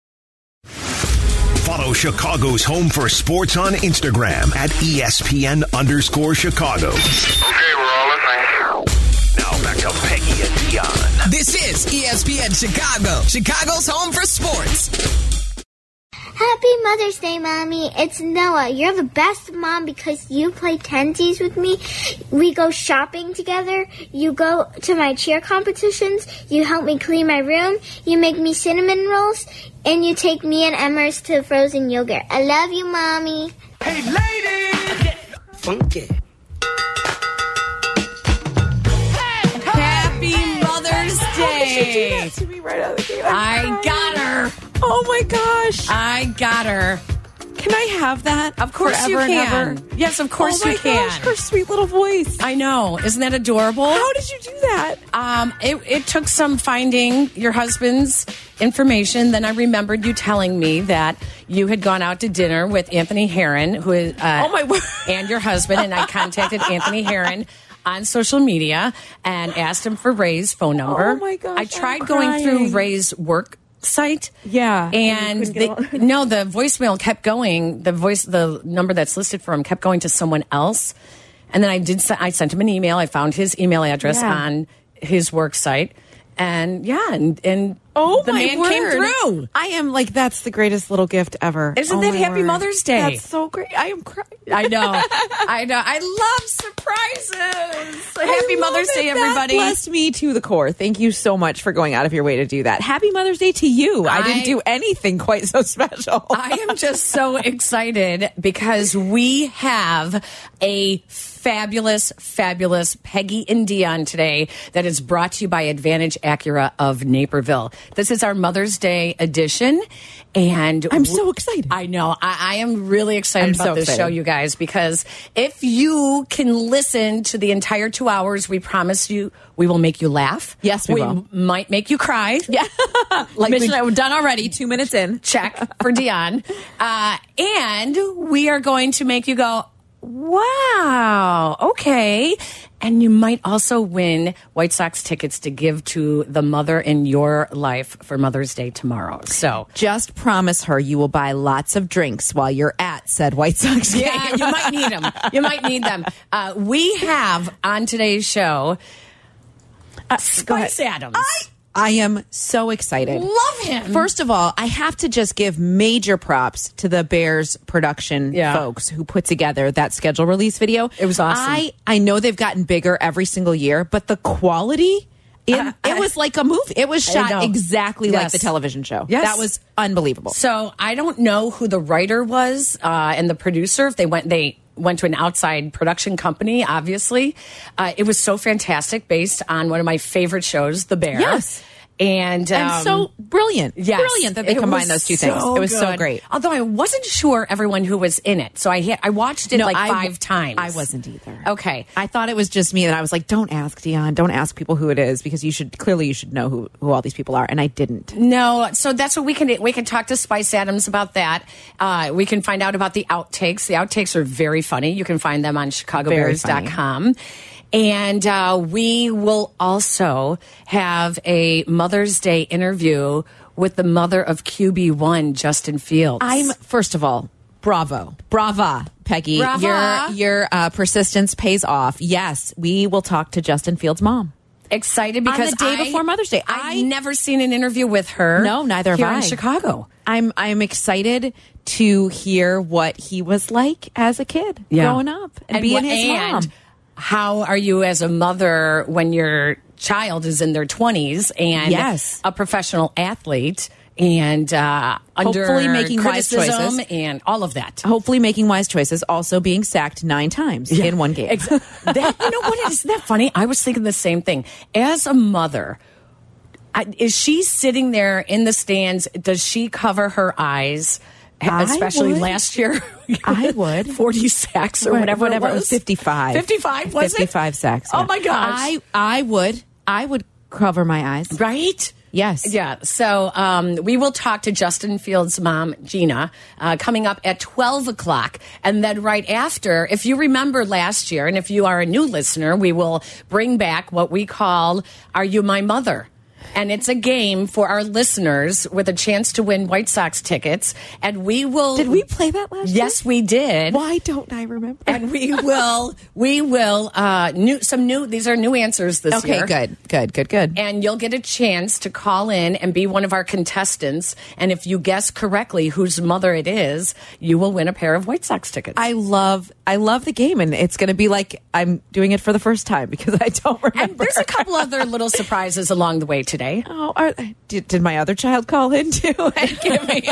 E Okay, we're all listening. Now back to Peggy and Dion. This is E ESPN Chicago, Chicago's home for sports. Happy Mother's Day, Mommy. It's Noah. You're the best mom because you play tensies with me. We go shopping together. You go to my cheer competitions. You help me clean my room. You make me cinnamon rolls. And you take me and Emmers to frozen yogurt. I love you, Mommy. Happy Mother's Day. to me right out of the gate. I got her. Oh my gosh. I got her. Can I have that? Of course Forever you and can. ever. Yes, of course oh my you can. Gosh, her sweet little voice. I know. Isn't that adorable? How did you do that? um, it, it took some finding your husband's information. Then I remembered you telling me that you had gone out to dinner with Anthony Heron, who is uh, Oh, my word. and your husband. And I contacted Anthony Heron on social media and asked him for Ray's phone number. Oh, my gosh, I tried I'm going through crying. Ray's work site. Yeah, and and you couldn't the, get no, the voicemail kept going. The voice, the number that's listed for him, kept going to someone else. And then I did. se- I sent him an email. I found his email address Yeah. on his work site, and yeah, and, and Oh the my man word. came through. I am like that's the greatest little gift ever. Isn't Oh, that my Happy word. Mother's Day? That's so great. I am crying. I know, I know. I love surprises. I Happy love Mother's it. Day, That everybody! blessed me to the core. Thank you so much for going out of your way to do that. Happy Mother's Day to you. I, I- didn't do anything quite so special. I am just so excited because we have a fabulous, fabulous Peggy and Dion today that is brought to you by Advantage Acura of Naperville. This is our Mother's Day edition, and I'm so excited. I know. I, I am really excited I'm about so this excited. show, you guys, because if you can listen to the entire two hours, we promise you we will make you laugh. Yes, we we will. might make you cry. Yeah, like we Mission I've done already. Two minutes in. check for Dion. Uh, and we are going to make you go, wow, okay. And you might also win White Sox tickets to give to the mother in your life for Mother's Day tomorrow. So. Just promise her you will buy lots of drinks while you're at said White Sox game. Yeah, you might need them. You might need them. Uh, we have on today's show uh, Spice Adams. I am so excited. Love him. First of all, I have to just give major props to the Bears production Yeah. folks who put together that schedule release video. It was awesome. I I know they've gotten bigger every single year, but the quality it, it was like a movie. It was Uh, I shot know. exactly like Yes. the television show. Yes. That was unbelievable. So I don't know who the writer was uh, and the producer. If they went, they went to an outside production company. Obviously, uh, it was so fantastic, based on one of my favorite shows, The Bear. Yes. and and um, so brilliant. Yes, Brilliant that they It combined was those two things. It was so good. great. Although I wasn't sure everyone who was in it, so I hit, I watched it like I- five times. I wasn't either. Okay. I thought it was just me that I was like, don't ask Dion, don't ask people who it is because you should clearly you should know who, who all these people are, and I didn't. No, so that's what we can we can talk to Spice Adams about that. Uh, we can find out about the outtakes. The outtakes are very funny. You can find them on chicagobears.com. And uh, we will also have a Mother's Day interview with the mother of QB1, Justin Fields. I'm first of all, bravo, brava, Peggy. Brava. Your your uh, persistence pays off. Yes, we will talk to Justin Fields' mom. excited because the day I- before Mother's Day. I've I- never seen an interview with her. No, neither have here I. in Chicago. I'm I'm excited to hear what he was like as a kid growing up and, being wha- his and mom. How are you as a mother when your child is in their 20s and Yes. a professional athlete and uh, under Hopefully making wise criticism choices. and all of that? Hopefully, making wise choices, also being sacked nine times in one game. Ex- that, you know what? Isn't that funny? I was thinking the same thing. As a mother, I, is she sitting there in the stands? Does she cover her eyes? I Especially would. last year, I would. forty sacks or Right, whatever, whatever. It was. 55. Fifty-five was it? 55 sacks. Oh yeah. my gosh! I I would I would cover my eyes. Right? Yes. Yeah. So um, we will talk to Justin Fields' mom, Gina, uh, coming up at 12 o'clock. And then right after, if you remember last year, and if you are a new listener, we will bring back what we call Are You My Mother? and it's a game for our listeners with a chance to win White Sox tickets. And we will. Did we play that last year? Yes, we did. Why don't I remember? And we will. We will. Uh, new some new. These are new answers this okay, year. good, good, good, good. And you'll get a chance to call in and be one of our contestants. And if you guess correctly whose mother it is, you will win a pair of White Sox tickets. I love, I love the game, and it's going to be like I'm doing it for the first time because I don't remember. and there's a couple other little surprises along the way today. Oh, are, did, did my other child call in too? And give me,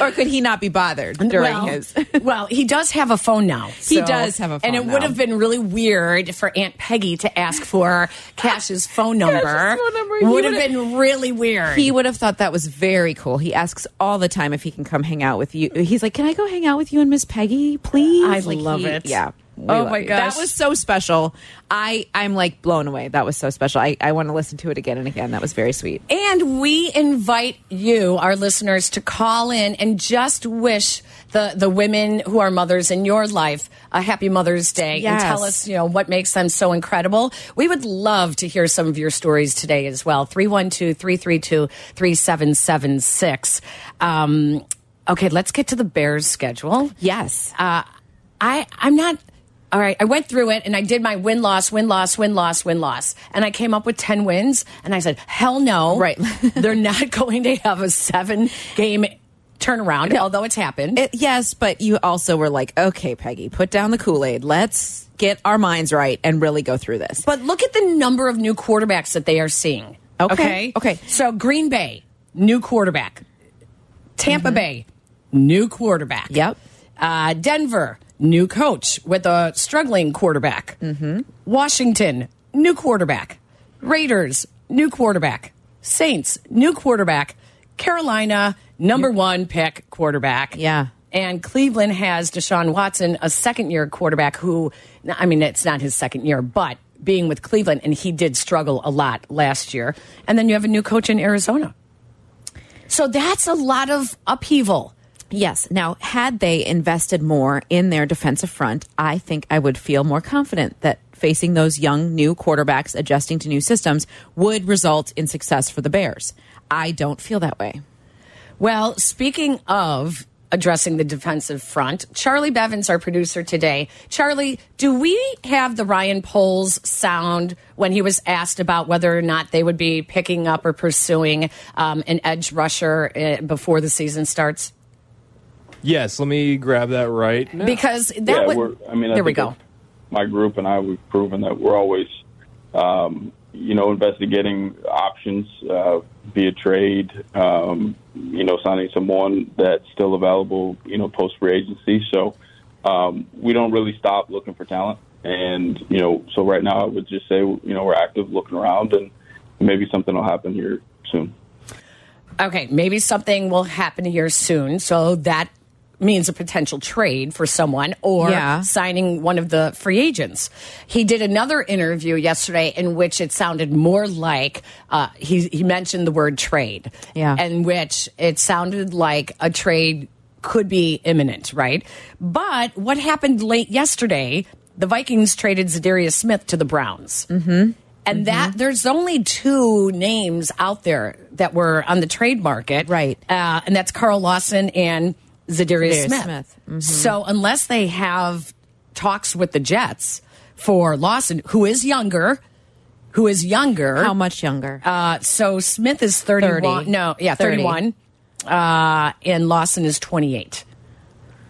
or could he not be bothered during well, his? well, he does have a phone now. He does have a phone and it now. would have been really weird for Aunt Peggy to ask for Cash's phone number. phone number. He Would have would've- been really weird. He would have thought that was very cool. He asks all the time if he can come hang out with you. He's like, "Can I go hang out with you and Miss Peggy, please?" I Like, love it. Yeah. we Oh, love my you. gosh. that was so special. I I'm like blown away. That was so special. I I want to listen to it again and again. That was very sweet. and we invite you, our listeners, to call in and just wish the, the women who are mothers in your life a happy Mother's Day and Yes. tell us, you know, what makes them so incredible. We would love to hear some of your stories today as well. 312 332 3776. Um, Okay, let's get to the Bears schedule. Yes. Uh, I I'm not all right. I went through it and I did my win loss win loss win loss win loss, and I came up with ten wins. And I said, hell no, Right. they're not going to have a seven game turnaround, although it's happened. It- yes, but you also were like, "Okay, Peggy, put down the Kool Aid. Let's get our minds right and really go through this." but look at the number of new quarterbacks that they are seeing. Okay, Okay. okay. So Green Bay, new quarterback. Tampa Bay, new quarterback. Mm-hmm. Yep. Uh, Denver, new coach with a struggling quarterback. Mm-hmm. Washington, new quarterback. Raiders, new quarterback. Saints, new quarterback. Carolina, number one pick quarterback. Yeah. And Cleveland has Deshaun Watson, a second year quarterback who, I mean, it's not his second year, but being with Cleveland, and he did struggle a lot last year. And then you have a new coach in Arizona. So that's a lot of upheaval. Yes. Now, had they invested more in their defensive front, I think I would feel more confident that facing those young new quarterbacks adjusting to new systems would result in success for the Bears. I don't feel that way. Well, speaking of addressing the defensive front, Charlie Bevins, our producer today. Charlie, do we have the Ryan Poles sound when he was asked about whether or not they would be picking up or pursuing um, an edge rusher uh, before the season starts? Yes, let me grab that right. now. Because that yeah, would. we're, I mean, I there we think go. My group and I, we've proven that we're always, um, you know, investigating options, uh, be a trade, um, you know, signing someone that's still available, you know, post free agency. So um, we don't really stop looking for talent. And, you know, so right now I would just say, you know, we're active looking around and maybe something will happen here soon. Okay, maybe something will happen here soon. So that means a potential trade for someone or Yeah. signing one of the free agents. He did another interview yesterday in which it sounded more like uh, he he mentioned the word trade. Yeah. in which it sounded like a trade could be imminent, right? But what happened late yesterday? The Vikings traded Zadarius Smith to the Browns. Mm-hmm. And that there's only two names out there that were on the trade market, Right. Uh, and that's Carl Lawson and Zadarius Zadarius Smith. Smith. Mm-hmm. So unless they have talks with the Jets for Lawson, who is younger, who is younger, How much younger? uh, so Smith is 31. 30. No, yeah, 30. 31. Uh, and Lawson is 28,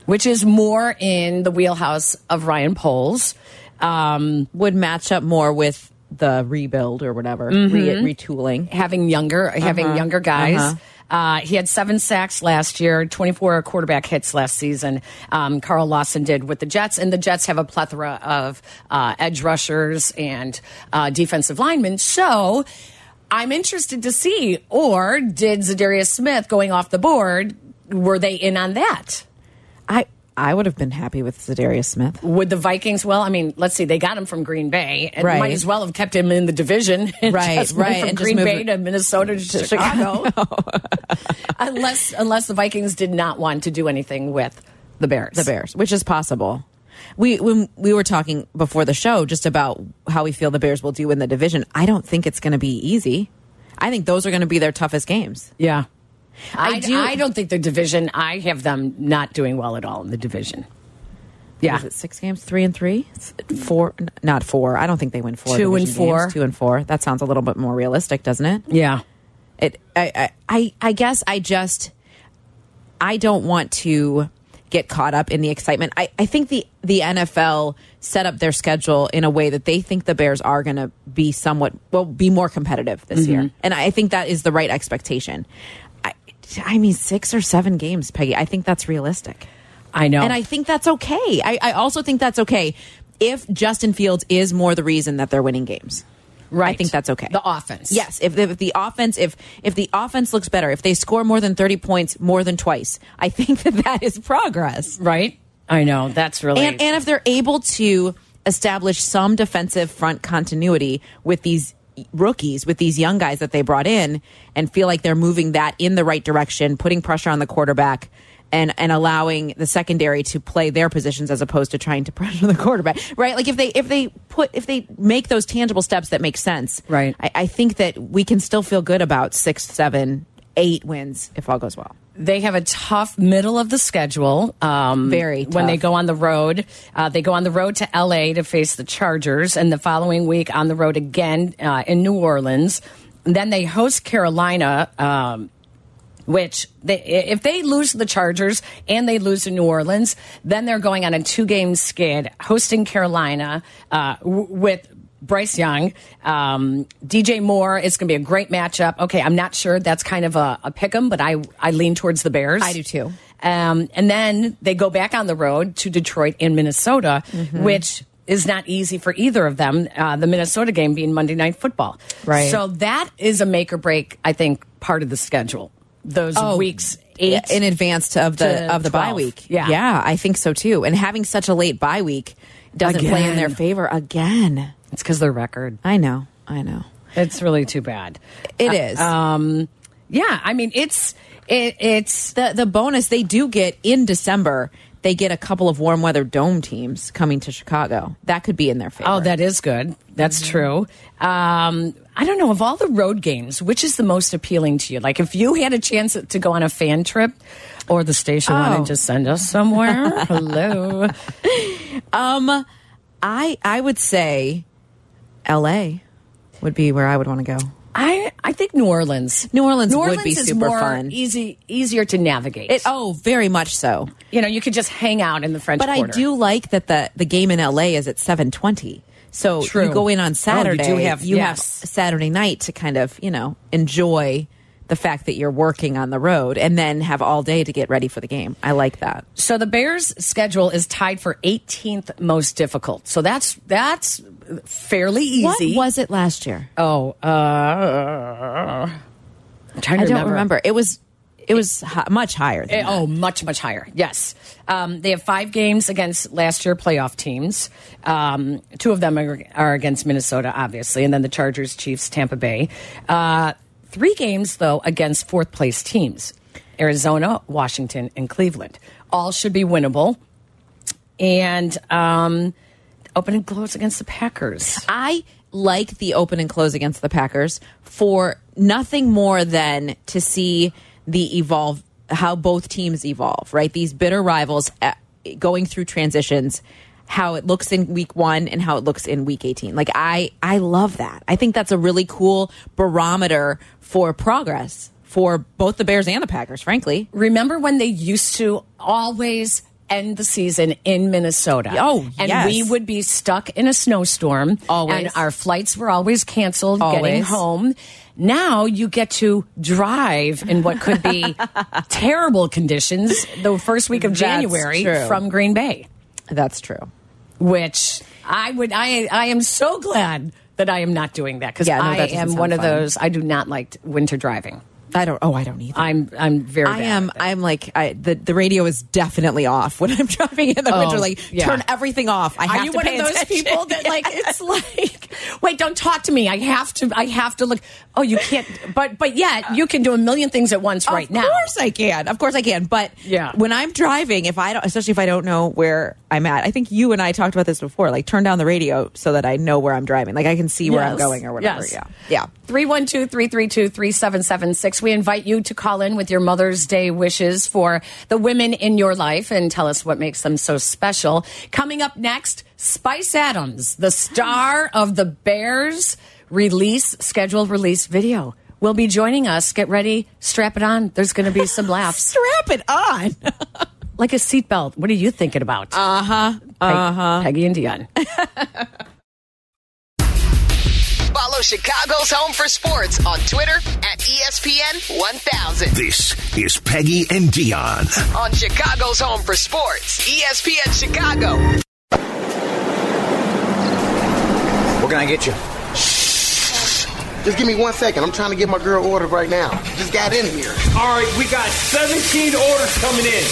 which is more in the wheelhouse of Ryan Poles. Um, would match up more with the rebuild or whatever, re retooling. having younger having younger guys. uh Uh-huh. he had seven sacks last year, 24 quarterback hits last season. Um, Carl Lawson did with the Jets, and the Jets have a plethora of uh, edge rushers and uh, defensive linemen. So I'm interested to see, or did Zadarius Smith going off the board, were they in on that? I I would have been happy with Zadarius Smith. Would the Vikings? Well, I mean, let's see. They got him from Green Bay, and Right. might as well have kept him in the division. and Right, just went right, From and just Green move Bay it to Minnesota to, Chicago, unless unless the Vikings did not want to do anything with the Bears. The Bears, which is possible. we when we were talking before the show just about how we feel the Bears will do in the division. I don't think it's going to be easy. I think those are going to be their toughest games. Yeah. I I, do- do. I don't think the division. I have them not doing well at all in the division. Yeah, Is it six games? Three and three? It's Four? n- Not four. I don't think they win four. Two and division four. games. Two and four. That sounds a little bit more realistic, doesn't it? yeah. it I, I- I i guess i just i don't want to get caught up in the excitement i, I think the the nfl set up their schedule in a way that they think the bears are going to be somewhat well be more competitive this year and i think that is the right expectation I, I mean six or seven games peggy i think that's realistic I know. and I think that's okay. I, I also think that's okay if Justin Fields is more the reason that they're winning games. I Right. think that's okay. The offense. Yes. If, if the offense, if if the offense looks better, if they score more than thirty points more than twice, I think that that is progress. right. I know. That's really. And and if they're able to establish some defensive front continuity with these rookies, with these young guys that they brought in, and feel like they're moving that in the right direction, putting pressure on the quarterback. And, and allowing the secondary to play their positions as opposed to trying to pressure the quarterback, right? Like if they if they put if they make those tangible steps that make sense, Right. I, I think that we can still feel good about six, seven, eight wins if all goes well. they have a tough middle of the schedule. Um, Very when they tough. go on the road, uh, they go on the road to L.A. to face the Chargers, and the following week on the road again uh, in New Orleans. And then they host Carolina, um, which they, i- if they lose to the Chargers and they lose to New Orleans, then they're going on a two-game skid hosting Carolina uh, w- with. Bryce Young, um, DJ Moore. It's going to be a great matchup. Okay, I'm not sure. That's kind of a, a pick 'em, but I I lean towards the Bears. I do too. Um, and then they go back on the road to Detroit and Minnesota, Mm-hmm. which is not easy for either of them. Uh, the Minnesota game being Monday Night Football. Right. So that is a make or break, I think, part of the schedule. Those Oh. weeks eight Yeah, in advance of the to of the bye 12. week. Yeah. yeah, I think so too. And having such a late bye week doesn't play in their Again. favor again. It's because their record. I know, I know. Uh, It's really too bad. It is Um, yeah, I mean it's it, it's the the bonus they do get in December. They get a couple of warm weather dome teams coming to Chicago. That could be in their favor. oh that is good. That's Mm-hmm. true. Um, I don't know of all the road games, which is the most appealing to you? Like if you had a chance to go on a fan trip, or the station Oh. wanted to send us somewhere. Hello. um, I I would say, L.A. would be where I would want to go. I I think New Orleans. New Orleans would Orleans be is super more fun. Easy easier to navigate. It oh, very much so. you know, you could just hang out in the French But I Quarter. do like that the the game in LA is at seven twenty. So True. you go in Oh, you on do Saturday. have- you have yes. Saturday night to kind of you know enjoy the fact that you're working on the road, and then have all day to get ready for the game. I like that. So the Bears' schedule is tied for 18th most difficult. So that's that's fairly easy. What was it last year? Oh, uh, I'm trying to I don't remember. It was it was hi much higher. Than Eh, that. Oh, much much higher. Yes, um, they have five games against last year playoff teams. Um, two of them are, are against Minnesota, obviously, and then the Chargers, Chiefs, Tampa Bay. Uh, three games though against fourth place teams: Arizona, Washington, and Cleveland. All should be winnable. And um, open and close against the Packers. I like the open and close against the Packers for nothing more than to see the evolve how both teams evolve, right? These bitter rivals uh, going through transitions how it looks in week 1 and how it looks in week 18. Like I I love that. I think that's a really cool barometer for progress for both the Bears and the Packers, frankly. Remember when they used to always end the season in Minnesota? Oh, and yes. we would be stuck in a snowstorm. Always. and our flights were always canceled. Getting Always. home. Now you get to drive in what could be terrible conditions the first week of That's January true. from Green Bay, That's true. which I would. I I am so glad that I am not doing that because Yeah, no, I that doesn't am sound one of fun. those. I do not like winter driving. I don't. Oh, I don't either. I'm I'm very. I bad am. at that. I'm like I, the the radio is definitely off when I'm driving in the Oh, winter. Like yeah. turn everything off. I have Are you to one pay of those attention. people that like it's like wait don't talk to me I have to I have to look oh you can't but but yet you can do a million things at once right of now course I can. Of course I can. But Yeah. when I'm driving, if I don't, especially if I don't know where I'm at, I think you and I talked about this before. Like turn down the radio so that I know where I'm driving. Like I can see where I'm Yes. going or whatever. Yes. Yeah. Yeah. 312 332 3776. We invite you to call in with your Mother's Day wishes for the women in your life and tell us what makes them so special. Coming up next, Spice Adams, the star of the Bears release, scheduled release video, will be joining us. Get ready, strap it on. There's going to be some laughs. Strap it on. Like a seatbelt. What are you thinking about? Uh huh. Uh huh. Peggy and Dion. Follow Chicago's Home for Sports on Twitter at E ESPN 1000. This is Peggy and Dion. On Chicago's Home for Sports, E ESPN Chicago. What can I get you? Just give me one second. I'm trying to get my girl ordered right now. Just got in here. All right, we got 17 orders coming in.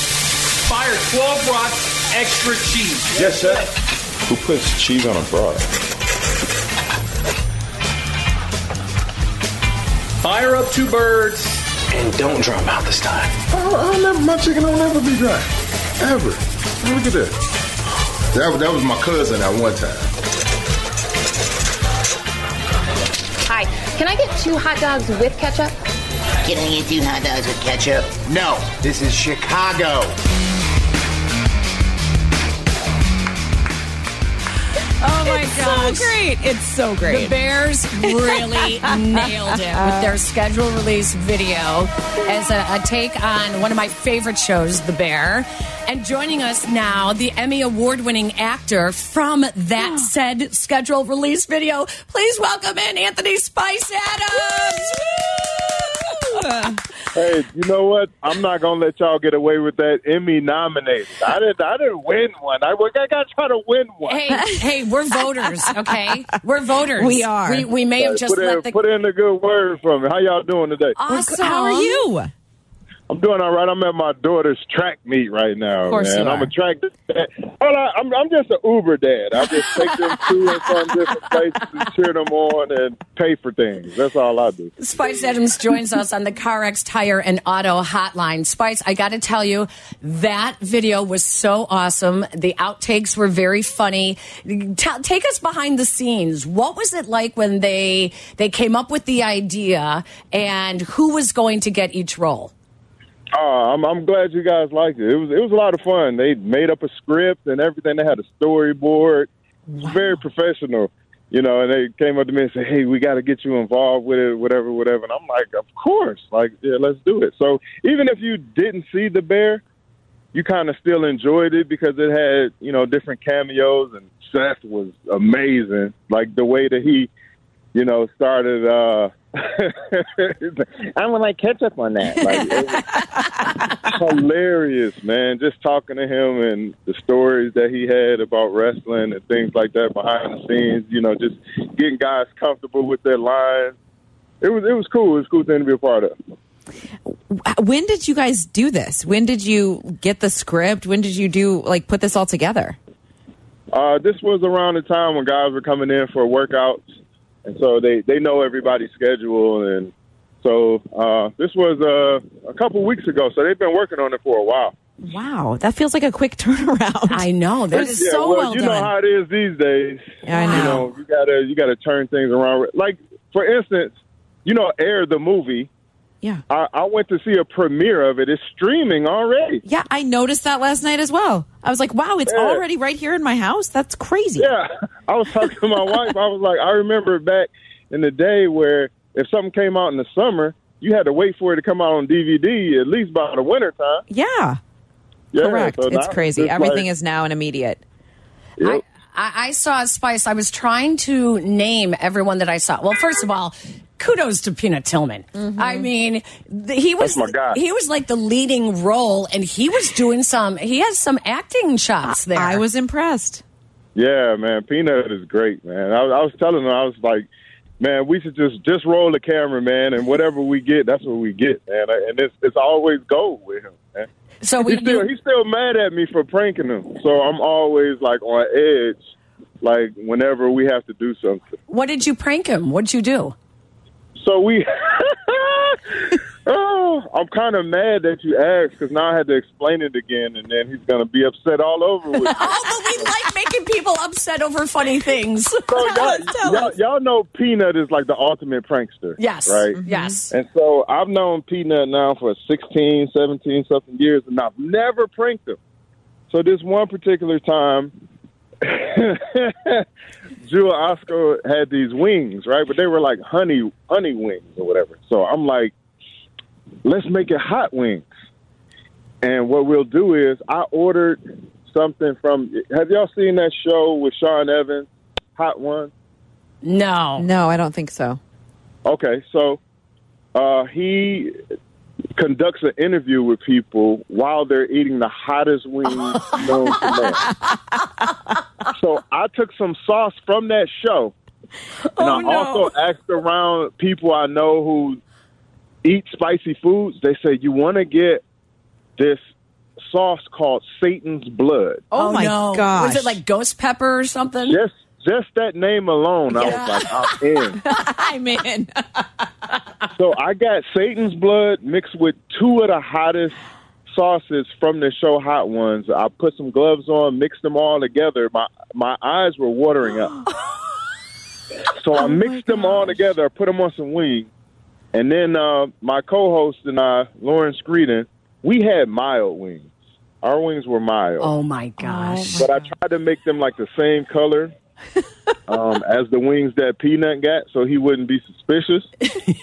Fire 12 rocks, extra cheese. Yes, sir. Who puts cheese on a broth? Fire up two birds. And don't drum out this time. Oh, I'll never, my chicken will never be dry. Ever. Look at that. That, was- that was my cousin at one time. Hi, can I get two hot dogs with ketchup? Can we get two hot dogs with ketchup? No, this is Chicago. Oh my gosh. So great. It's so great. The Bears really nailed it with their schedule release video as a, a take on one of my favorite shows, The Bear. And joining us now, the Emmy Award winning actor from that said schedule release video. Please welcome in Anthony Spice Adams. Hey, you know what? I'm not gonna let y'all get away with that Emmy nominated. I didn't. I didn't win one. I, I got to try to win one. Hey, hey, we're voters, okay? We're voters. We are. We, we may have just put, in, let the. put in a good word for me. How y'all doing today? Awesome. How are you? I'm doing all right. I'm at my daughter's track meet right now, of course Oh, man. you I'm are. a track. Dad. Well, I, I'm I'm just an Uber dad. I just take them to and from different places and cheer them on and pay for things. That's all I do. Spice Adams joins us on the CarX Tire and Auto Hotline. Spice, I got to tell you, that video was so awesome. The outtakes were very funny. Ta take us behind the scenes. What was it like when they they came up with the idea, and who was going to get each role? Uh, I'm, I'm glad you guys liked it. It was it was a lot of fun. They made up a script and everything. They had a storyboard. It was Very professional, you know. And they came up to me and said, "Hey, we got to get you involved with it, whatever, whatever." And I'm like, "Of course, like yeah, let's do it." So even if you didn't see the bear, you kind of still enjoyed it because it had you know different cameos and Seth was amazing. Like the way that he, you know, started. uh I'm gonna like catch up on that. Like, it was- hilarious, man. Just talking to him and the stories that he had about wrestling and things like that behind the scenes. You know, just getting guys comfortable with their lines. It was it was cool. It was a cool thing to be a part of. When did you guys do this? When did you get the script? When did you do like put this all together? Uh, this was around the time when guys were coming in for workouts, and so they they know everybody's schedule, and so uh, this was uh, a couple weeks ago. So they've been working on it for a while. Wow, that feels like a quick turnaround. I know that is so well, you know done. how it is these days. Yeah, I know. You know, you gotta you gotta turn things around. Like for instance, you know, Air the movie. yeah. I, I went to see a premiere of it. It's streaming already. Yeah, I noticed that last night as well. I was like, wow, it's Yeah. already right here in my house. That's crazy. Yeah, I was talking to my wife. I was like, I remember back in the day where if something came out in the summer, you had to wait for it to come out on DVD at least by the winter time. Yeah, Yeah, correct. so now it's crazy. just Everything like- is now an immediate. Yep. I, I saw Spice. I was trying to name everyone that I saw. Well, first of all, kudos to Peanut Tillman. Mm-hmm. I mean, th he was That's my guy. he was like the leading role, and he was doing some. He has some acting shots there. I was impressed. Yeah, man, Peanut is great, man. I, was- I was telling her, I was like, man, we should just just roll the camera, man, and whatever we get, that's what we get, man. And it's it's always gold with him, man. So he's still he's still mad at me for pranking him. So I'm always like on edge, like whenever we have to do something. What did you prank him? What'd you do? So we. oh, I'm kind of mad that you asked because now I had to explain it again, and then he's gonna be upset all over with. me. oh, but we like making people upset over funny things. y'all, y'all, y'all know Peanut is like the ultimate prankster. Yes, Mm-hmm. Right? yes. And so I've known Peanut now for 16, 17 something years, and I've never pranked him. So this one particular time, Jewel Oscar had these wings, right? But they were like honey honey wings or whatever. So I'm like, let's make it hot wings. And what we'll do is I ordered something from have y'all seen that show with Sean Evans, Hot One? Mm-hmm. No. No, I don't think so. Okay, so uh, he conducts an interview with people while they're eating the hottest wings known to man. So I took some sauce from that show, and I no. also asked around people I know who eat spicy foods. They say you want to get this sauce called Satan's Blood. Oh, my god! Was it like ghost pepper or something? Just just that name alone, I was like, I'm in. I'm in. so I got Satan's blood mixed with two of the hottest sauces from the show Hot Ones. I put some gloves on, mixed them all together. My my eyes were watering up. so Oh I mixed them all together, I put them on some wings, and then uh, my co-host and I, Lauren Screeden, we had mild wings. Our wings were mild. Oh my gosh! But I tried to make them like the same color um, as the wings that Peanut got, so he wouldn't be suspicious.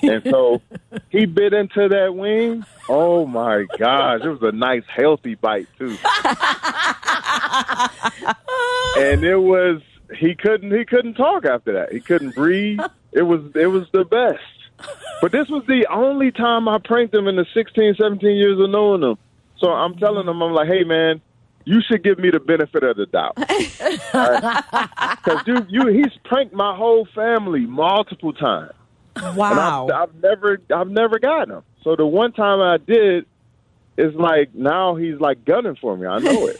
and so he bit into that wing. Oh my gosh! It was a nice, healthy bite too. and it was he couldn't he couldn't talk after that. He couldn't breathe. It was it was the best. But this was the only time I pranked him in the 16, 17 years of knowing him. So I'm telling him, I'm like, hey man, you should give me the benefit of the doubt. Because you, you, he's pranked my whole family multiple times. And uh, Wow. I've, I've never, I've never gotten him. So the one time I did, it's like now he's like gunning for me. I know it.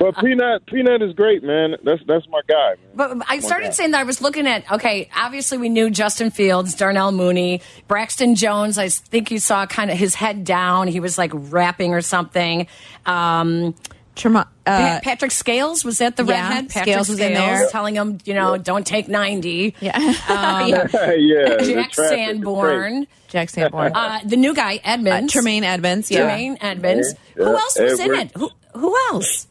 but Peanut, Peanut is great, man. That's that's my guy. Man. But I started God. saying that I was looking at okay. Obviously, we knew Justin Fields, Darnell Mooney, Braxton Jones. I think you saw kind of his head down. He was like rapping or something. Um, uh, Pa- Patrick Scales was that the yeah, redhead? Patrick Scales was in there. telling him, you know, don't take ninety. Yeah, um, Yeah, the Jack traffic is Sanborn. Jack Sanborn. Uh, the new guy, Edmonds. Uh, Tremaine Edmonds, yeah. Tremaine Edmonds. Yeah, Who else was in Edwards. it? Who, who else?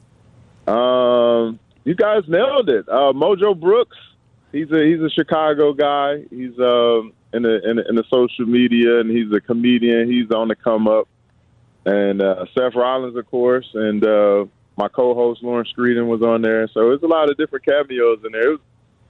Um, you guys nailed it. Uh, Mojo Brooks. He's a he's a Chicago guy. He's um in the in, the- in the social media and he's a comedian. He's on the come up. And uh, Seth Rollins, of course, and uh, my co-host Lauren Screeden was on there. So it's a lot of different cameos in there. It was,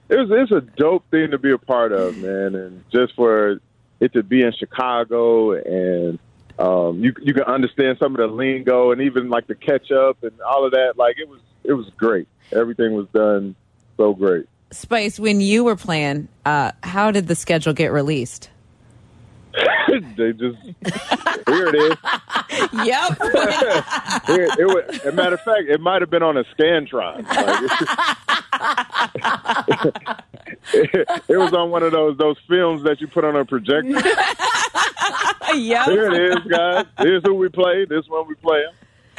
it was it's a dope thing to be a part of, man, and just for it to be in Chicago and um, you you can understand some of the lingo and even like the catch up and all of that. Like it was it was great. Everything was done so great. Spice, when you were playing, uh, how did the schedule get released? they just here it is. Uh, yep. Here, it was, as a matter of fact, it might have been on a scantron. Like, it, it was on one of those those films that you put on a projector. yep. Here it is, guys. Here's who we play. This one we play.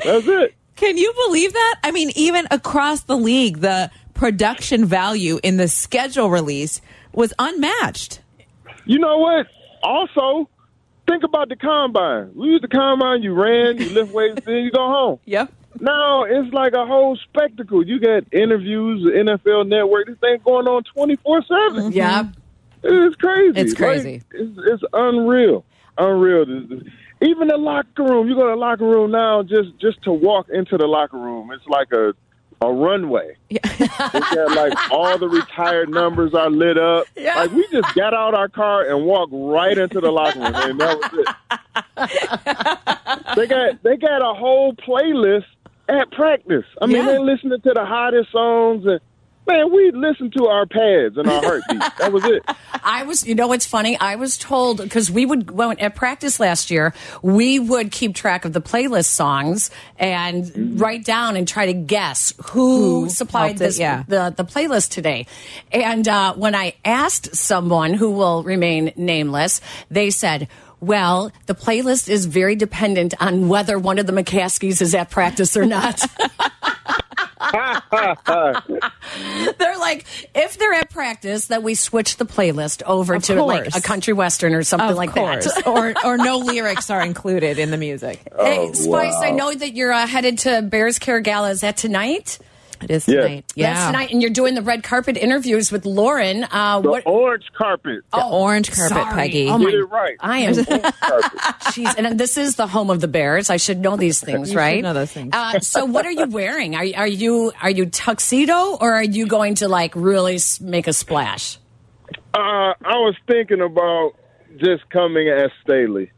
That's it. Can you believe that? I mean, even across the league, the production value in the schedule release was unmatched. You know what? Also, think about the combine. We used the combine, you ran, you lift weights, then you go home. Yep. Now it's like a whole spectacle. You got interviews, the NFL Network. This thing going on twenty four seven. Yeah, it's crazy. It's Like, crazy. it's, it's unreal, unreal. This- this- Even the locker room. You go to the locker room now, just just to walk into the locker room, it's like a a runway. It's got like all the retired numbers are lit up. Like we just got out our car and walked right into the locker room, and that was it. they got they got a whole playlist at practice. I mean, Yeah. they're listening to the hottest songs, and Man, we listened to our pads and our heartbeat. that was it. I was, you know, what's funny? I was told because we would when, at practice last year, we would keep track of the playlist songs and write down and try to guess who, Who supplied helped it, this yeah. the the playlist today. And uh, when I asked someone who will remain nameless, they said. Well, the playlist is very dependent on whether one of the McCaskies is at practice or not. they're like, if they're at practice, then we switch the playlist over Of to like course. a country western or something Of like course. that. or or no lyrics are included in the music. Oh, Hey, Spice, I know that you're uh, headed to Bears Care Gala. Is that tonight? It is Yeah. tonight. Yeah. That's tonight, and you're doing the red carpet interviews with Lauren. Uh, The what? orange carpet. The orange carpet, sorry. Peggy. Oh my, Get it right. I am. Jeez, and this is the home of the Bears. I should know these You things, should right? know those things. Uh, so, what are you wearing? Are, are you are you tuxedo, or are you going to like really s- make a splash? Uh, I was thinking about just coming as Staley.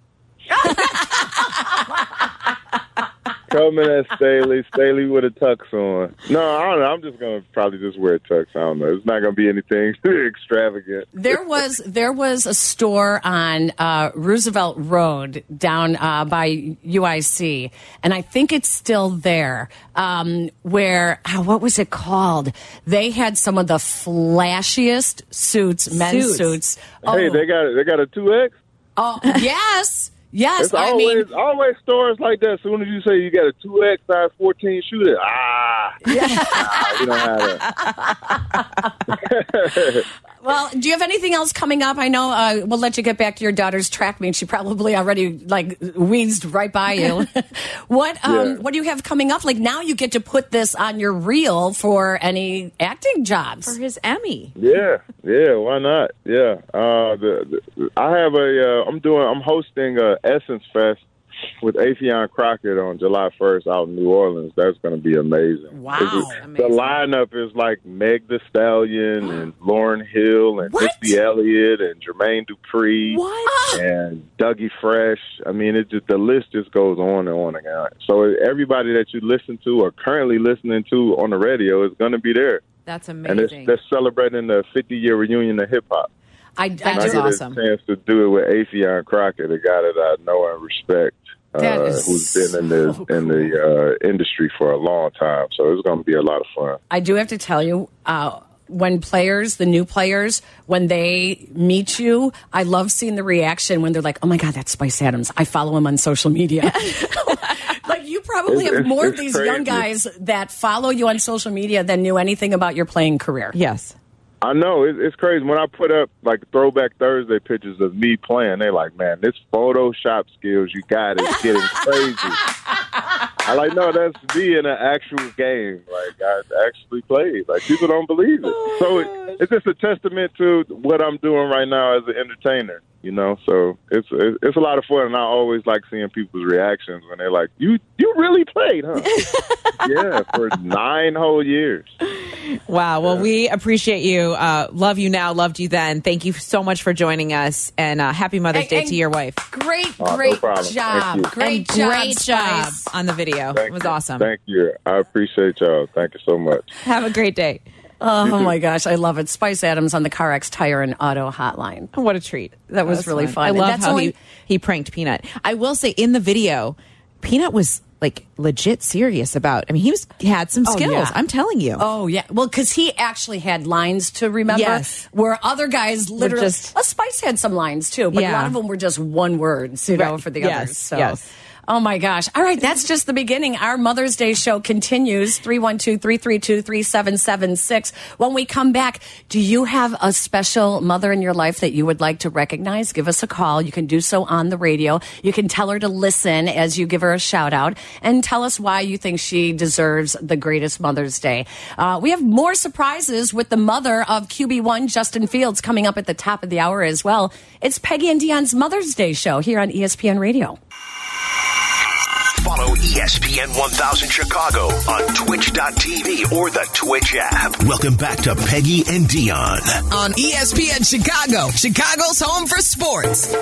coming as Staley, Staley with a tux on. No, I don't know. I'm just gonna probably just wear a tux. I don't know. It's not gonna be anything extravagant. There was there was a store on uh, Roosevelt Road down uh, by UIC, and I think it's still there. Um, where ah, what was it called? They had some of the flashiest suits, men's Suits. suits. Hey, they got they got a two X. oh, yes, yes. It's I always mean, always stores like that. As soon as you say you got a two X size fourteen shooter, ah, nah, we don't have that. well, do you have anything else coming up? I know uh, we'll let you get back to your daughter's track meet. She probably already like wheezed right by you. what um, Yeah. what do you have coming up? Like now, you get to put this on your reel for any acting jobs. For his Emmy. Yeah, yeah. Why not? Yeah. Uh, the, the I have a. Uh, I'm doing. I'm hosting a Essence Fest with Afion Crockett on July 1st out in New Orleans. That's going to be amazing. Wow. The lineup is like Meg The Stallion and Lauren Hill and What? Missy Elliott and Jermaine Dupri What? and Dougie Fresh. I mean, it just the list just goes on and on and on. So everybody that you listen to or currently listening to on the radio is going to be there. That's And it's, amazing. they're celebrating the 50 year reunion of hip hop. I, I And I That's do- get awesome. a chance to do it with Afion Crockett, a guy that I know and respect, That uh, is who's been in the so in the uh, industry for a long time. So it's going to be a lot of fun. I do have to tell you, uh, when players, the new players, when they meet you, I love seeing the reaction when they're like, "Oh my God, that's Spice Adams." I follow him on social media. like you probably It's- have more of it's these crazy. young guys that follow you on social media than knew anything about your playing career. Yes. I know it, it's crazy when I put up like Throwback Thursday pictures of me playing. They're like, "Man, this Photoshop skills you got is getting crazy." I like, no, that's me in an actual game. Like I actually played. Like people don't believe it. so it, it's just a testament to what I'm doing right now as an entertainer. You know, so it's it's it's a lot of fun, and I always like seeing people's reactions when they're like, "You you really played, huh?" yeah, for nine whole years. Wow. Well, we appreciate you. Uh, love you now. Loved you then. Thank you so much for joining us. And uh, happy Mother's And- Day and to your wife. Great, Oh, no great problem. Thank job. you. Great And job. Great job Spice. Uh, on the video. Thank it was you. awesome. Thank you. I appreciate y'all. Thank you so much. Have a great day. Oh my gosh, I love it. Spice Adams on the CarX Tire and Auto Hotline. What a treat. That was really fun. I And love that's how only- he, he pranked Peanut. I will say in the video, Peanut was like legit serious about. I mean, he was he had some skills. yeah. I'm telling you. Oh yeah, well, because he actually had lines to remember. Yes. Where other guys literally, just- uh, Spice had some lines too, but a Yeah. lot of them were just one words, you know, Right. for the Yes, others. So. yes. Oh my gosh. All right, that's just the beginning. Our Mother's Day show continues 312 332 3776. When we come back, do you have a special mother in your life that you would like to recognize? Give us a call. You can do so on the radio. You can tell her to listen as you give her a shout out and tell us why you think she deserves the greatest Mother's Day. Uh, we have more surprises with the mother of QB1, Justin Fields, coming up at the top of the hour as well. It's Peggy and Dion's Mother's Day show here on E ESPN Radio. Follow E ESPN 1000 Chicago on twitch.tv or the Twitch app. Welcome back to Peggy and Dion. On E ESPN Chicago, Chicago's home for sports.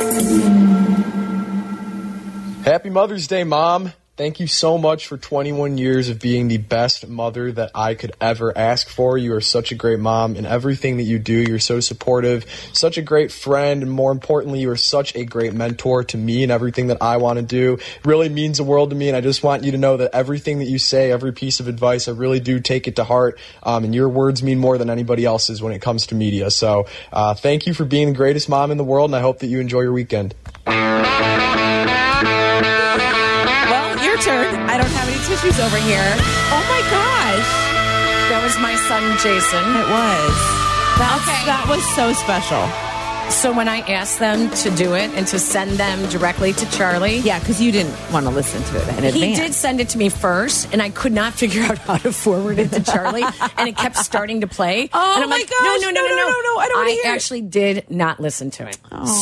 Happy Mother's Day, Mom. Thank you so much for 21 years of being the best mother that I could ever ask for. You are such a great mom in everything that you do. You're so supportive, such a great friend, and more importantly, you are such a great mentor to me and everything that I want to do. It really means the world to me, and I just want you to know that everything that you say, every piece of advice, I really do take it to heart. Um, and your words mean more than anybody else's when it comes to media. So uh, thank you for being the greatest mom in the world, and I hope that you enjoy your weekend. Well, your turn. I don't have any tissues over here. Oh my gosh. That was my son, Jason. It was. That's, That was so special. So when I asked them to do it and to send them directly to Charlie. Yeah, because you didn't want to listen to it in He advance. did send it to me first, and I could not figure out how to forward it to Charlie, and it kept starting to play. Oh, and I'm my like, gosh. No, no, no, No, no, no, no, no. I don't wanna hear it. actually did not listen to it.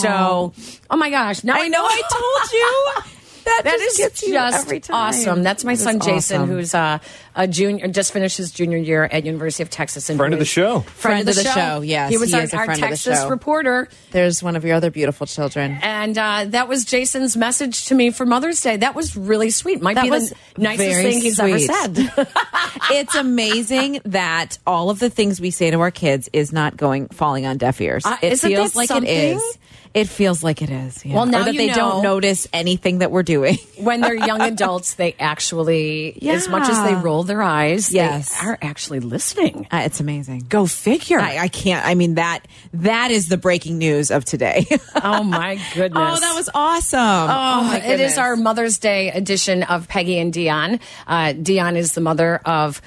So, oh my gosh, now I, know I told you. That that just is gets you just every time. awesome. That's my That son is Jason, awesome. who's uh, a junior, just finished his junior year at University of Texas. And Friend who of the is- show. Friend, of the, show. yes. he was our, is a our friend of the Texas show. reporter. There's one of your other beautiful children. And uh, that was Jason's message to me for Mother's Day. That was really sweet. Might That be was the nicest very thing he's ever sweet. said. it's amazing that all of the things we say to our kids is not going falling on deaf ears. Uh, it isn't feels that like it something? is. It feels like it is. yeah. Well, now or that you they don't know. notice anything that we're doing. when they're young adults, they actually, as much as they Yeah. roll their eyes, Yes. they are actually listening. Uh, it's amazing. Go figure. I, I can't. I mean that that is the breaking news of today. oh my goodness. oh, that was awesome. Oh, my it is goodness. our Mother's Day edition of Peggy and Dion. Uh, Dion is the mother of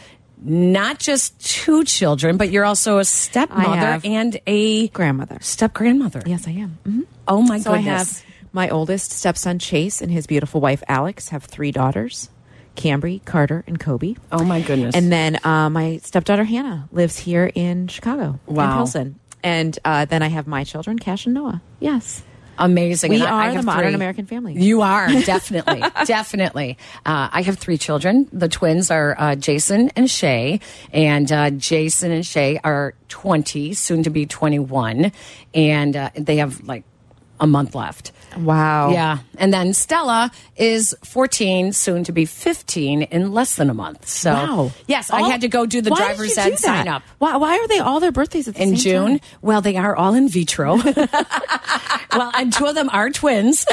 not just two children, but you're also a stepmother have and a grandmother. step grandmother. Yes, I am. Mhm. Oh my so goodness. I have my oldest stepson Chase and his beautiful wife Alex have three daughters, Cambry, Carter, and Kobe. Oh my goodness. And then uh, my stepdaughter Hannah lives here in Chicago, in Wow. Pilsen. And uh, then I have my children, Cash and Noah. Yes, Amazing. We And I- I are the have modern American family. You are, definitely. definitely. Uh, I have three children. The twins are uh, Jason and Shay. And uh, Jason and Shay are 20, soon to be 21. And uh, they have like a month left. Wow. Yeah. And then Stella is 14, soon to be 15 in less than a month. So, wow. yes, I All- had to go do the Why did driver's you ed do sign that? up Why, why are they all their birthdays at the in same June. time? Well, they are all in vitro. well, and two of them are twins.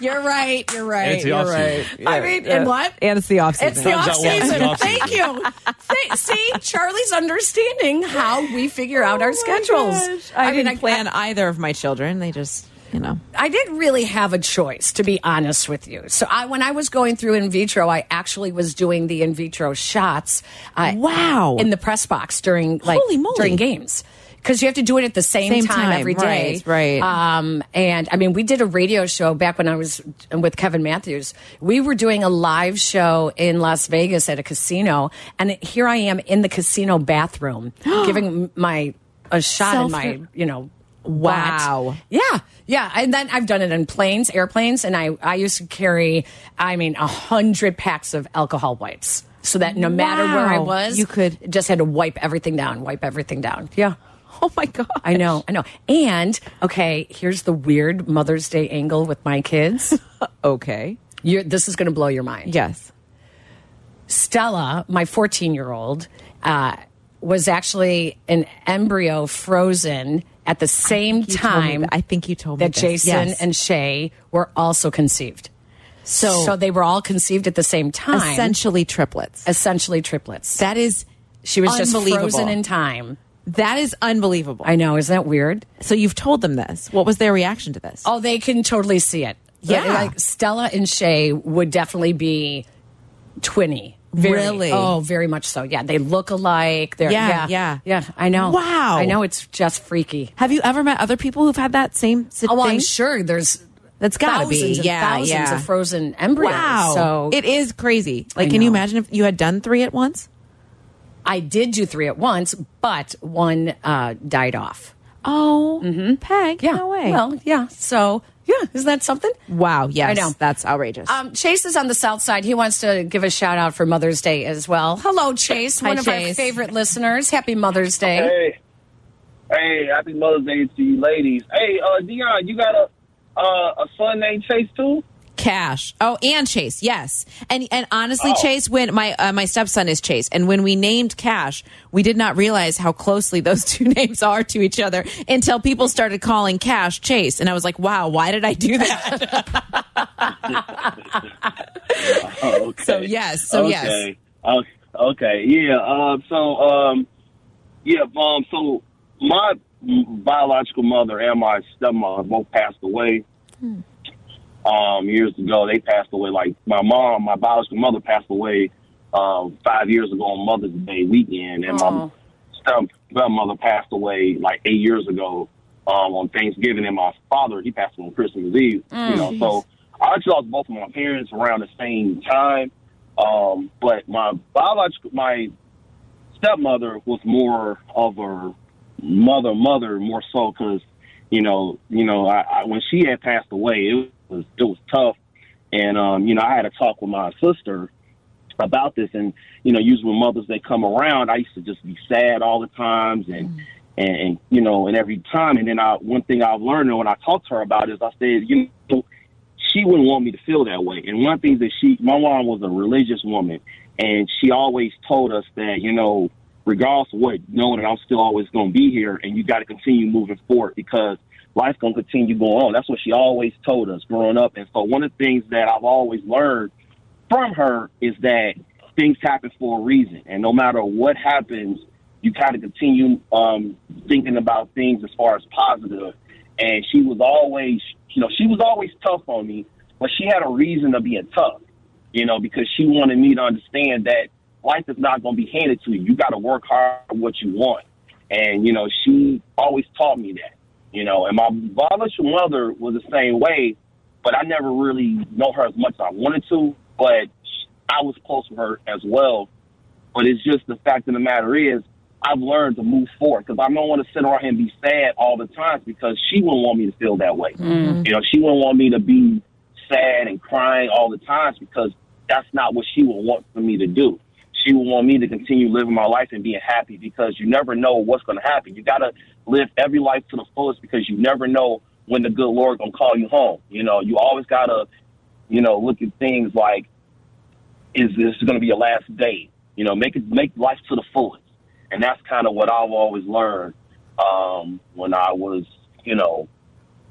you're right. You're right. And it's the you're off-season. right. I mean, and what? And it's the off season. It's the Comes off out once in season. the off Thank you. Th- see, Charlie's understanding how we figure out our schedules. Oh I, didn't mean, plan either of my children. They just, you know. I didn't really have a choice, to be honest with you. So I, when I was going through in vitro, I actually was doing the in vitro shots. Uh, Wow. In the press box during like Holy moly. during games. Because you have to do it at the same, Same time, time, every day, right, right. Um, and I mean, we did a radio show back when I was with Kevin Matthews. We were doing a live show in Las Vegas at a casino, and here I am in the casino bathroom giving my a shot in Self- my you know Wow. butt. Yeah, yeah. And then I've done it in planes, airplanes, and I I used to carry, I mean, a hundred packs of alcohol wipes, so that no matter where I Wow. was, You could- just had to wipe everything down, wipe everything down. Yeah. Oh my god! I know, I know. And okay, here's the weird Mother's Day angle with my kids. Okay. You're, this is going to blow your mind. Yes. Stella, my 14 year old, uh, was actually an embryo frozen at the same You told me time. that- I think you told me that this. Jason Yes. and Shay were also conceived. So- they were all conceived at the same time. essentially triplets. essentially triplets. That is she was just unbelievable. frozen in time. That is unbelievable. I know, isn't that weird? So you've told them this. What was their reaction to this? Oh, they can totally see it. Yeah. like Stella and Shay would definitely be twinny. Very- Really? Oh, very much so. Yeah, they look alike. They're, Yeah, yeah, yeah. yeah. I know. Wow. I know. It's just freaky. Have you ever met other people who've had that same si- Oh, well, I'm thing? sure there's That's gotta be. thousands and Yeah, thousands yeah. of frozen embryos. Wow. So it is crazy. Like, I can you know. imagine if you had done three at once? I did do three at once, but one uh, died off. Oh, Peg, Yeah. no way. Well, yeah. So, yeah, isn't that something? wow, yes, I know. that's outrageous. Um, Chase is on the south side. He wants to give a shout out for Mother's Day as well. Hello, Chase, Hi, one of our Chase. favorite listeners. Happy Mother's Day. Hey, hey, happy Mother's Day to you ladies. Hey, uh, Dion, you got a uh, a son named Chase too? Cash. Oh, and Chase. Yes. And and honestly, Oh. Chase. When my uh, my stepson is Chase, and when we named Cash, we did not realize how closely those two names are to each other until people started calling Cash Chase, and I was like, wow, why did I do that? Oh, okay. So yes. So okay. yes. Oh, okay. Yeah. Um, so um, yeah. Um, so my biological mother and my stepmother both passed away Hmm. um, years ago. They passed away. Like my mom, my biological mother passed away um, five years ago on Mother's Day weekend, and my Aw. step- stepmother passed away like eight years ago um, on Thanksgiving, and my father he passed away on Christmas Eve. Mm. you know, so I actually lost both of my parents around the same time. Um, but my biological, my stepmother was more of a mother, mother more so because you know, you know, I, I when she had passed away, it was it was tough, and um, you know, I had a talk with my sister about this, and you know, usually when mothers they come around, I used to just be sad all the times, and and, and you know, and every time, and then I one thing I've learned and when I talked to her about it is I said, you know, she wouldn't want me to feel that way, and one thing that she, my mom was a religious woman, and she always told us that you know regardless of what, knowing that I'm still always going to be here, and you got to continue moving forward because life's going to continue going on. That's what she always told us growing up. And so one of the things that I've always learned from her is that things happen for a reason, and no matter what happens, you kind of continue um, thinking about things as far as positive. And she was always, you know, she was always tough on me, but she had a reason to be tough you know, because she wanted me to understand that life is not going to be handed to you. You got to work hard for what you want. And, you know, she always taught me that, you know, and my biological mother was the same way, but I never really know her as much as I wanted to, but I was close with her as well. But it's just the fact of the matter is, I've learned to move forward because I don't want to sit around here and be sad all the time because she wouldn't want me to feel that way. Mm. You know, she wouldn't want me to be sad and crying all the times because that's not what she would want for me to do. She would want me to continue living my life and being happy because you never know what's going to happen. You got to live every life to the fullest because you never know when the good Lord going to call you home. You know, you always got to, you know, look at things like, is this going to be your last day? You know, make it, make life to the fullest. And that's kind of what I've always learned, um, when I was, you know,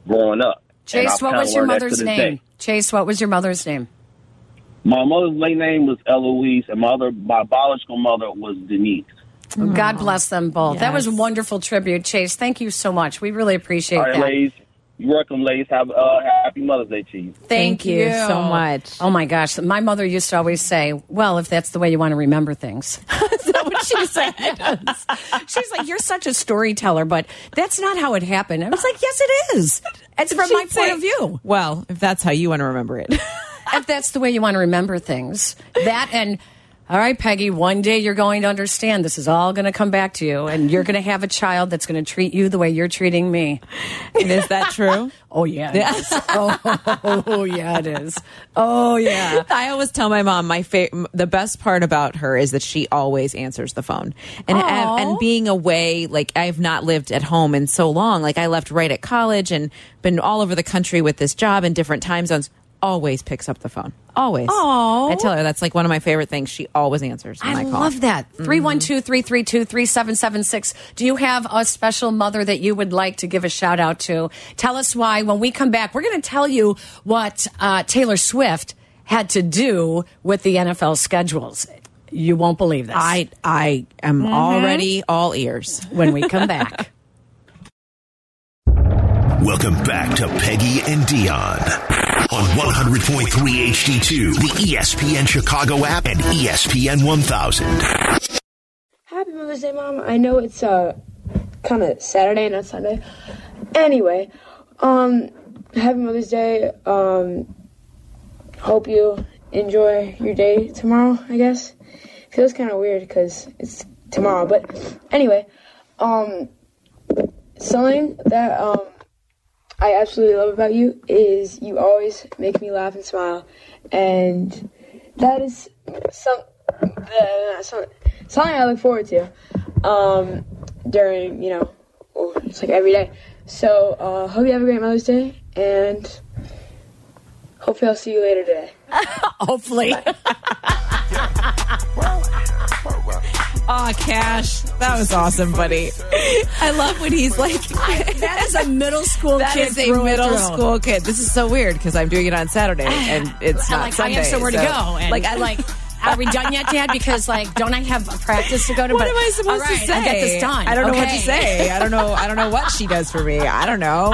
growing up. And Chase, I've what kinda was your learned that to mother's this name? day. Chase, what was your mother's name? My mother's late name was Eloise, and my other, my biological mother was Denise. God bless them both. That was a Yes. wonderful tribute, Chase. Thank you so much. We really appreciate All right, that. ladies, you're welcome, ladies. Have a uh, happy Mother's Day to you. Thank, you. much. Oh my gosh, my mother used to always say, "Well, if that's the way you want to remember things." Is that what she said? She's like, "You're such a storyteller, but that's not how it happened." I was like, "Yes, it is. It's from my She'd point say, of view." Well, if that's how you want to remember it. if that's the way you want to remember things, that and all right, Peggy, one day you're going to understand this is all going to come back to you, and you're going to have a child that's going to treat you the way you're treating me. And is that true? oh, yeah. it Yeah. is. oh, yeah, it is. Oh yeah. I always tell my mom my fa- m- the best part about her is that she always answers the phone. And Aw. and, and being away, like I've not lived at home in so long. Like I left right at college and been all over the country with this job in different time zones. Always picks up the phone. Always. Aw. I tell her that's like one of my favorite things. She always answers when I, I call. love that. 312 332 3776. Do you have a special mother that you would like to give a shout out to? Tell us why. When we come back, we're going to tell you what uh, Taylor Swift had to do with the NFL schedules. You won't believe this. I, I am already all ears. When we come back. Welcome back to Peggy and Dion on 100.3 HD2, the E ESPN Chicago app, and E ESPN 1000. Happy Mother's Day, Mom. I know it's uh kind of Saturday, not Sunday. Anyway, um, Happy Mother's Day. Um, hope you enjoy your day tomorrow. I guess feels kind of weird because it's tomorrow, but anyway, um, something that um I absolutely love about you is you always make me laugh and smile, and that is some uh, some- something I look forward to um, during you know oh, it's like every day. So uh, hope you have a great Mother's Day and Hopefully, I'll see you later today. Hopefully. Oh, Cash, that was awesome, buddy. I love when he's like, that is a middle school That kid is a through and middle through. school kid. This is so weird because I'm doing it on Saturday and it's I'm not like Sunday. I have somewhere so- to go. And like like I like, are we done yet, Dad? Because like, don't I have a practice to go to? What But- am I All supposed right, to say? I'll get this done. I don't know what to Okay. say. I don't know. I don't know what she does for me. I don't know.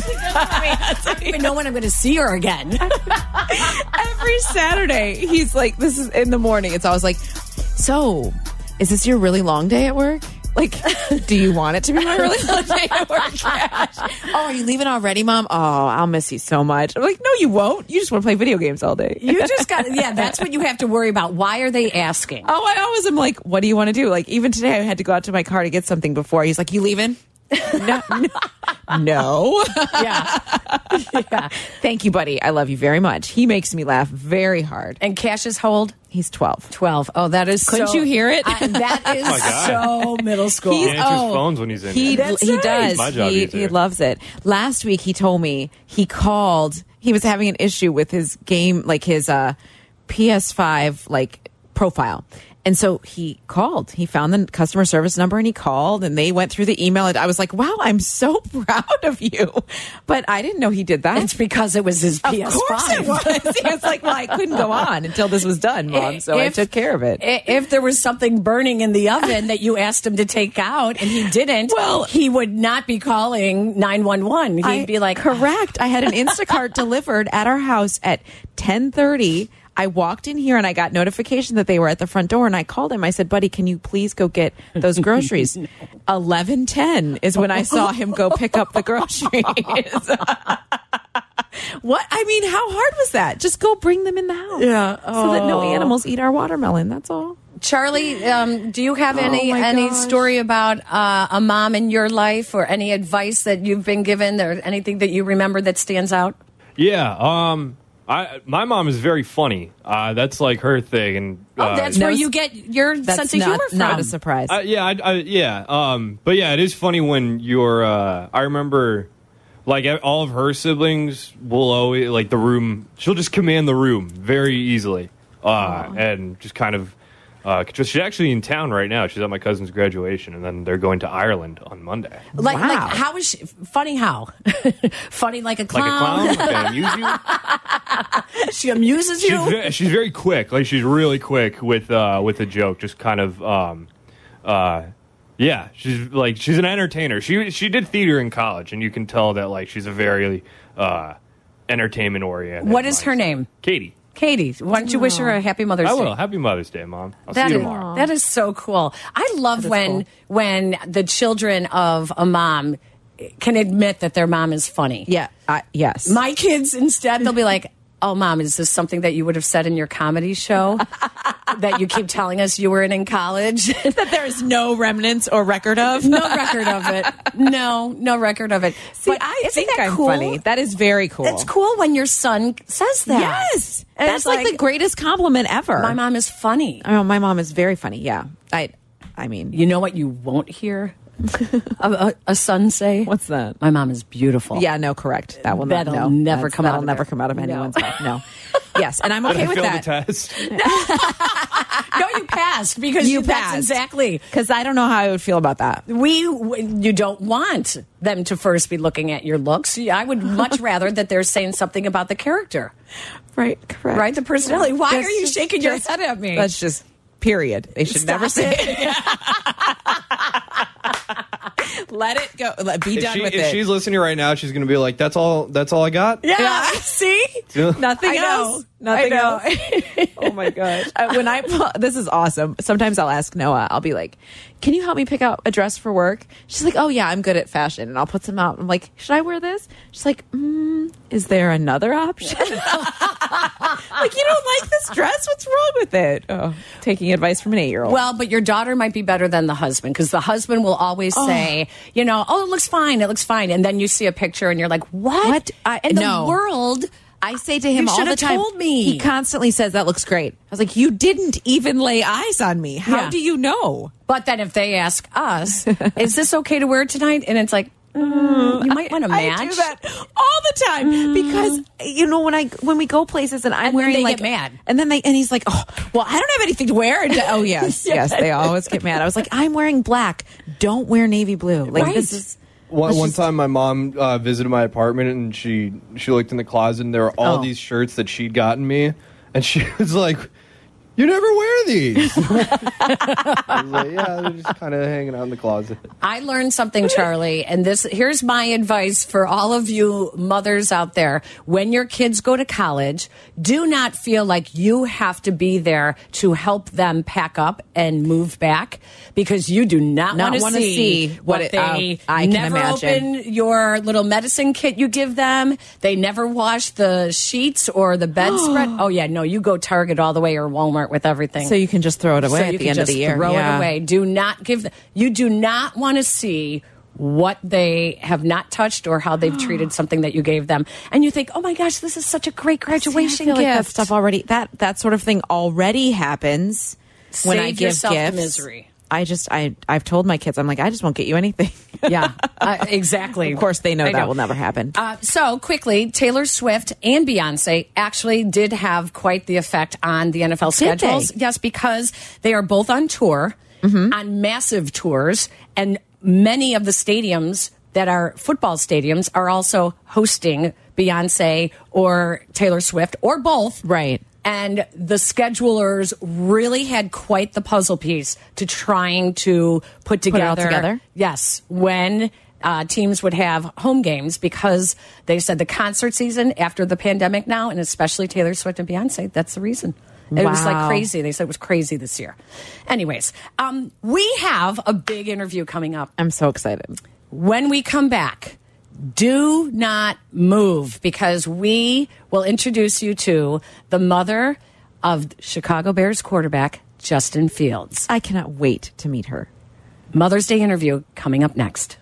I don't even know when I'm going to see her again. every Saturday. He's like, this is in the morning. It's always like, so is this your really long day at work? Like, do you want it to be my really long day at work? Cash? Oh, are you leaving already, Mom? Oh, I'll miss you so much. I'm like, no, you won't. You just want to play video games all day. You just got yeah. That's what you have to worry about. Why are they asking? Oh, I always am like, what do you want to do? Like, even today, I had to go out to my car to get something before. He's like, you leaving? no, no, no. Yeah. Thank you, buddy. I love you very much. He makes me laugh very hard. And Cash's hold? He's 12. 12. Oh, that is Couldn't so- you hear it? I- that is Oh, my God. so middle school. He answers phones when he's in oh, He, here. he does. My job he, easier. he loves it. Last week, he told me he called. He was having an issue with his game, like his uh, PS5 like profile, and so he called. He found the customer service number and he called, and they went through the email. And I was like, "Wow, I'm so proud of you," but I didn't know he did that. It's because it was his of PS5. course it was. he was like, "Well, I couldn't go on until this was done, mom." So I If- took care of it. I- If there was something burning in the oven that you asked him to take out and he didn't, well, he would not be calling 911. He'd I- be like, correct i had an instacart delivered at our house at 10.30 i walked in here and i got notification that they were at the front door and i called him i said buddy can you please go get those groceries 11.10 is when i saw him go pick up the groceries what i mean how hard was that just go bring them in the house Yeah. so that no Oh. animals eat our watermelon that's all Charlie, um, do you have any my any gosh. story about uh, a mom in your life or any advice that you've been given or anything that you remember that stands out? Yeah. Um. I my mom is very funny. Uh, that's like her thing. And Oh, uh, that's where you get your that's sense of not- humor from. not a surprise Uh, yeah, I, I, yeah. Um, but yeah, it is funny when you're. Uh, I remember, like all of her siblings will always like the room. She'll just command the room very easily, uh, and just kind of. Uh, control- she's actually in town right now. She's at my cousin's graduation, and then they're going to Ireland on Monday. Like, like, how is she funny? How funny Like like a a clown? clown, like I amuse you. she amuses She's you. very, she's very quick. Like she's really quick with uh, with a joke. Just kind of, um, uh, yeah. She's like she's an entertainer. She she did theater in college, and you can tell that like she's a very uh, entertainment oriented. What is her name? Katie. Katie. Why don't you wish her a happy Mother's I Day? will. Happy Mother's Day, Mom. I'll That see you is- tomorrow. that is so cool. I love when when the children of a mom can admit that their mom is funny. yeah I, yes My kids instead they'll be like, "Oh, mom, is this something that you would have said in your comedy show that you keep telling us you were in in college?" that there is no remnants or record of no record of it. No, no record of it. See, I isn't think that I'm cool? funny. That is very cool. It's cool when your son says that. Yes. And it's That's like, the greatest compliment ever. My mom is funny. Oh, my mom is very funny. Yeah. I I mean, You know what you won't hear a, a, a son say? what's that? My mom is beautiful. Yeah, no, correct. That will not, That'll no. never That's- come out that'll of there. never come out of No. anyone's mouth. No. Yes, and I'm Did okay I with fail that. the test. No, you passed because you, passed exactly. Cuz I don't know how I would feel about that. We, w- you don't want them to first be looking at your looks. I would much rather that they're saying something about the character, Right, correct. right? The personality. Why That's are you just- shaking your that's- head at me? That's just period. They should Stop never say it. it. Let it go. Let, be If, done she, with if it. she's listening right now, she's going to be like, "That's all. That's all I got." Yeah. See? Nothing I know. else. Nothing I know. else. oh my gosh. Uh, when I pull- this is awesome. Sometimes I'll ask Noah. I'll be like, "Can you help me pick out a dress for work?" She's like, "Oh yeah, I'm good at fashion." And I'll put some out. I'm like, "Should I wear this?" She's like, mm, "Is there another option?" like you don't like this dress? What's wrong with it? Oh, taking advice from an eight year old. Well, but your daughter might be better than the husband because the husband will always say, you know, oh, it looks fine, it looks fine, and then you see a picture and you're like, what? What? I- in no. the world? I say to him You all should the have time. told me. He constantly says that looks great. I was like, you didn't even lay eyes on me. How Yeah. do you know? But then if they ask us, is this okay to wear tonight? And it's like, mm, you might want to match. I do that all the time because you know when I when we go places and I'm And then wearing they like get mad. and then they and he's like, oh well, I don't have anything to wear. And- oh yes, yes, they always get mad. I was like, I'm wearing black. Don't wear navy blue. Like this is One, let's one just- time, my mom uh, visited my apartment, and she she looked in the closet, and there were all Oh. these shirts that she'd gotten me, and she was like, "You never wear these." I was like, "Yeah, they're just kind of hanging out in the closet." I learned something, Charlie, and this here's my advice for all of you mothers out there. When your kids go to college, do not feel like you have to be there to help them pack up and move back because you do not, Not want wanna to see, see what what it- um, they I- I can never imagine. open your little medicine kit you give them. They never wash the sheets or the bedspread. oh yeah, no, you go Target all the way or Walmart with everything. So you can just throw it away So at you the can end of the just year. Throw Yeah. it away. Do not give. The, you do not want to see what they have not touched or how they've treated something that you gave them, and you think, "Oh my gosh, this is such a great graduation See, I feel like that gift." stuff already that that sort of thing already happens when I Save give yourself the gifts. misery. I just I I've told my kids I'm like I just won't get you anything. yeah, uh, exactly. Of course, they know I that know. will never happen. Uh, so quickly, Taylor Swift and Beyonce actually did have quite the effect on the NFL Did they? schedules. Yes, because they are both on tour, Mm-hmm. on massive tours, and many of the stadiums that are football stadiums are also hosting Beyonce or Taylor Swift or both. Right. And the schedulers really had quite the puzzle piece to trying to put Put it all together. together? Yes, when uh, teams would have home games because they said the concert season after the pandemic now, and especially Taylor Swift and Beyonce, that's the reason. It was like Wow. crazy. They said it was crazy this year. Anyways, um, we have a big interview coming up. I'm so excited. When we come back, do not move because we will introduce you to the mother of Chicago Bears quarterback Justin Fields. I cannot wait to meet her. Mother's Day interview coming up next.